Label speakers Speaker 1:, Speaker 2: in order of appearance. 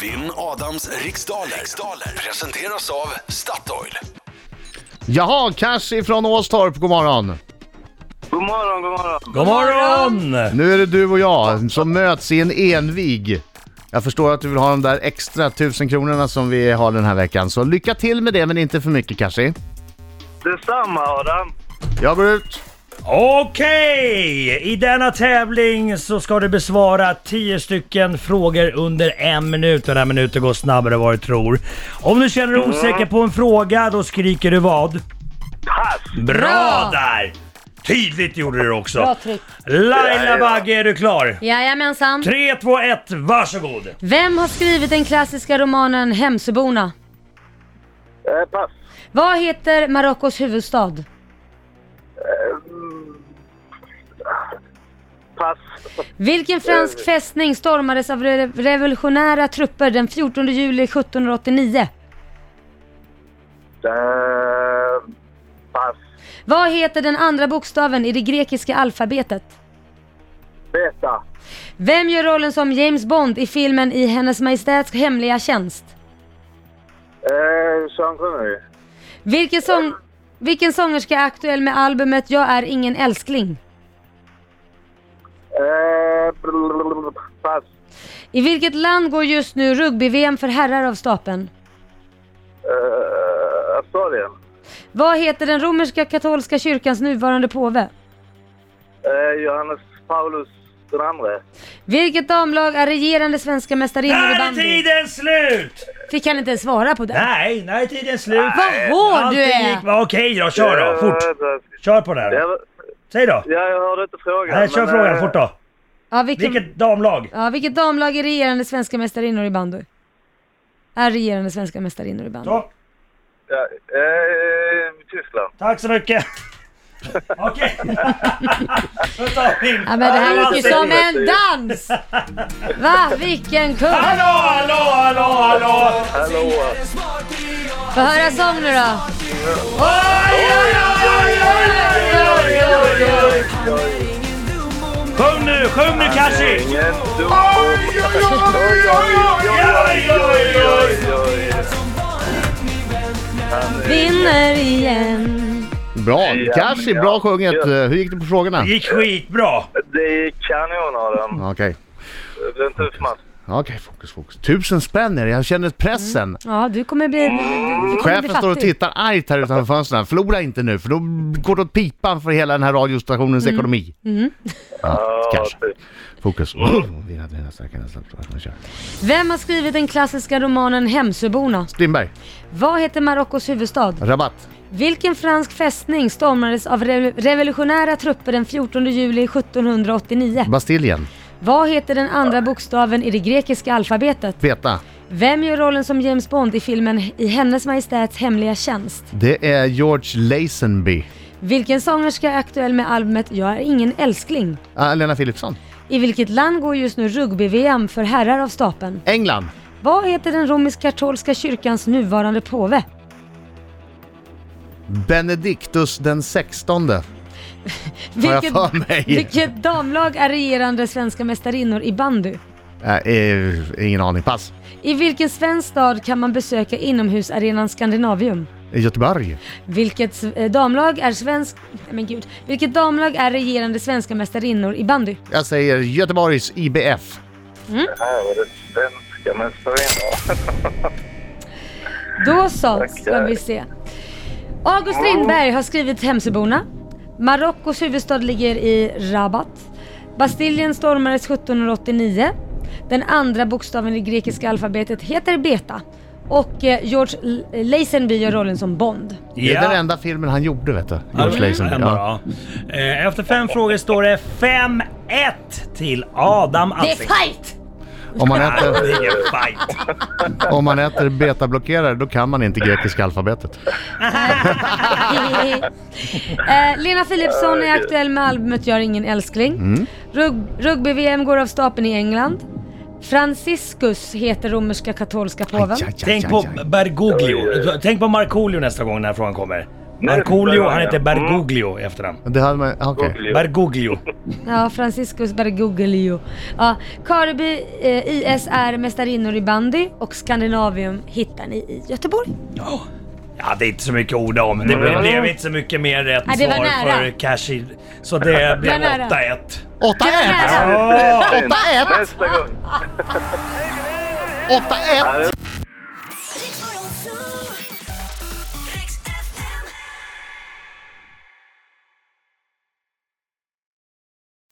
Speaker 1: Vinn Adams riksdaler. riksdaler presenteras av Statoil.
Speaker 2: Jaha, Cash ifrån Åstorp, god morgon.
Speaker 3: God morgon, god morgon.
Speaker 4: God morgon!
Speaker 2: Nu är det du och jag som möts i en envig. Jag förstår att du vill ha de där extra tusen kronorna som vi har den här veckan, så lycka till med det men inte för mycket Kashi.
Speaker 3: Detsamma Adam.
Speaker 2: Jag går ut.
Speaker 4: Okej! I denna tävling så ska du besvara 10 stycken frågor under en minut. Den här minuten går snabbare än vad du tror. Om du känner dig osäker på en fråga, då skriker du vad?
Speaker 3: Pass.
Speaker 4: Bra
Speaker 5: Bra.
Speaker 4: där! Tydligt gjorde du det
Speaker 5: Bra
Speaker 4: också.
Speaker 5: tryck.
Speaker 4: Laila Bagge, är du klar?
Speaker 5: Jajamensan.
Speaker 4: 3, 2, 1, varsågod!
Speaker 5: Vem har skrivit den klassiska romanen Hemsöborna?
Speaker 3: Eh, pass.
Speaker 5: Vad heter Marockos huvudstad?
Speaker 3: Pass.
Speaker 5: Vilken fransk fästning stormades av re- revolutionära trupper den 14 juli 1789?
Speaker 3: Eh, pass.
Speaker 5: Vad heter den andra bokstaven i det grekiska alfabetet?
Speaker 3: Beta.
Speaker 5: Vem gör rollen som James Bond i filmen I Hennes Majestäts Hemliga Tjänst?
Speaker 3: Eh, Sean Connery.
Speaker 5: Vilken, sång, vilken sångerska är aktuell med albumet Jag är ingen älskling?
Speaker 3: Eh, blablabla. pass.
Speaker 5: I vilket land går just nu rugby-VM för herrar av stapeln?
Speaker 3: Eh, Australien.
Speaker 5: Vad heter den romerska katolska kyrkans nuvarande påve?
Speaker 3: Eh, Johannes Paulus den andre.
Speaker 5: Vilket damlag är regerande svenska mästarinnor
Speaker 4: Där
Speaker 5: i
Speaker 4: är
Speaker 5: bandy?
Speaker 4: tiden slut!
Speaker 5: Fick han inte ens svara på det.
Speaker 4: Nej, när är tiden slut?
Speaker 5: Vad hård du
Speaker 4: Allting gick
Speaker 5: är!
Speaker 4: bra. Okej då, kör då. Fort!
Speaker 3: Eh,
Speaker 4: Kör på det här.
Speaker 3: Jag,
Speaker 4: Säg då.
Speaker 3: jag hörde inte frågan.
Speaker 4: Nej, kör
Speaker 3: men,
Speaker 4: frågan
Speaker 3: eh, liksom-
Speaker 4: fort då.
Speaker 5: Ja, vilken,
Speaker 4: Vilket damlag?
Speaker 5: ja, vilket damlag är regerande svenska mästarinnor i bandy? Är regerande svenska mästarinnor i bandy.
Speaker 4: Så,
Speaker 3: Ja, eh, Tyskland.
Speaker 4: tack så mycket. Okej. Då tar vi in.
Speaker 5: Ja, men det här gick ju som
Speaker 3: Absolut.
Speaker 5: en dans! Va, vilken kung!
Speaker 4: Hallå, hallå, hallå, hallå!
Speaker 3: Hallå!
Speaker 5: Få höra sång nu då.
Speaker 4: Oj, oj, oj, oj, oj, oj, oj, oj. Sjung nu, sjung nu Kashi!
Speaker 3: Ingen dum... Oj, oj, oj, oj, oj, oj, oj, oj.
Speaker 5: Vinner igen.
Speaker 2: Bra, Kashi, bra sjunget.
Speaker 3: Ja.
Speaker 2: Hur gick det på frågorna?
Speaker 4: Det gick skitbra.
Speaker 3: Det är kanon Adam.
Speaker 2: Okej,
Speaker 3: Det blir en tuff match.
Speaker 2: okej, fokus, fokus. Tusen spänn är det, jag känner pressen.
Speaker 5: Ja, du kommer bli... du kommer bli
Speaker 2: Chefen står och
Speaker 5: fattig.
Speaker 2: tittar argt här utanför fönstren. Förlora inte nu, för då går det åt pipan för hela den här radiostationens ekonomi. Ja,
Speaker 3: Ja,
Speaker 2: kanske.
Speaker 3: typ.
Speaker 2: Fokus. Vinna, vinna, starka, nästan. Kör.
Speaker 5: Vem har skrivit den klassiska romanen Hemsöborna?
Speaker 2: Strindberg,
Speaker 5: Vad heter Marockos huvudstad?
Speaker 2: rabatt.
Speaker 5: Vilken fransk fästning stormades av re- revolutionära trupper den 14 juli 1789?
Speaker 2: Bastiljen,
Speaker 5: Vad heter den andra bokstaven i det grekiska alfabetet?
Speaker 2: Veta.
Speaker 5: Vem gör rollen som James Bond i filmen I Hennes Majestäts Hemliga Tjänst?
Speaker 2: Det är George Lazenby.
Speaker 5: Vilken sångerska är aktuell med albumet Jag är ingen älskling?
Speaker 2: Ah, Lena Philipsson.
Speaker 5: I vilket land går just nu rugby-VM för herrar av stapeln?
Speaker 2: England.
Speaker 5: Vad heter den romersk-katolska kyrkans nuvarande påve?
Speaker 2: Benediktus den sextonde. Har jag för mig.
Speaker 5: vilket damlag är regerande svenska mästarinnor i bandy?
Speaker 2: Äh, eh, ingen aning. Pass.
Speaker 5: I vilken svensk stad kan man besöka inomhusarenan Skandinavium?
Speaker 2: Göteborg.
Speaker 5: Vilket s- eh, damlag är svensk... Nej, Men gud. Vilket damlag är regerande svenska mästarinnor i bandy?
Speaker 2: Jag säger Göteborgs IBF.
Speaker 3: Här var det svenska mästarinnor.
Speaker 5: Då så, ska
Speaker 3: Tackar.
Speaker 5: vi se. August Strindberg har skrivit Hemsöborna. Marockos huvudstad ligger i Rabat. Bastiljen stormades 1789. Den andra bokstaven i grekiska alfabetet heter beta. Och eh, George L- Lazenby gör rollen som Bond.
Speaker 2: Det är den enda filmen han gjorde, vet du. George Lazenby.
Speaker 4: Ändå,
Speaker 2: Ja.
Speaker 4: ja. Eh, Efter fem frågor står det 5-1 till Adam
Speaker 5: Det är
Speaker 4: Alsing.
Speaker 5: fight!
Speaker 2: Om han
Speaker 4: Nej,
Speaker 2: äter,
Speaker 4: det är ingen fight.
Speaker 2: om man äter betablockerare, då kan man inte grekiska alfabetet.
Speaker 5: eh, Lena Philipsson är aktuell med albumet Gör ingen älskling.
Speaker 2: Mm.
Speaker 5: Rug- Rugby-VM går av stapeln i England. Franciscus heter romerska katolska påven.
Speaker 2: Aj, aj, aj,
Speaker 4: Tänk
Speaker 2: aj,
Speaker 4: på
Speaker 2: aj.
Speaker 4: Bergoglio. Tänk på Markoolio nästa gång när frågan kommer. Markoolio, han heter Bergoglio i efternamn.
Speaker 2: Det hade man... ah, Okej.
Speaker 3: Bergoglio.
Speaker 4: Bergoglio.
Speaker 5: Ja, Franciscus Bergoglio. Ja, Kareby eh, IS är mästarinnor i bandy och Skandinavium hittar ni i Göteborg.
Speaker 4: Ja, det är inte så mycket att orda om. Det blev, blev inte så mycket mer rätt
Speaker 5: Nej, det var
Speaker 4: svar
Speaker 5: nära.
Speaker 4: för Kashi. Så det blev
Speaker 5: nära.
Speaker 4: 8-1.
Speaker 2: 8-1!
Speaker 5: Nära.
Speaker 4: Ja.
Speaker 3: Nästa gång.
Speaker 2: 8-1!
Speaker 3: Ja, det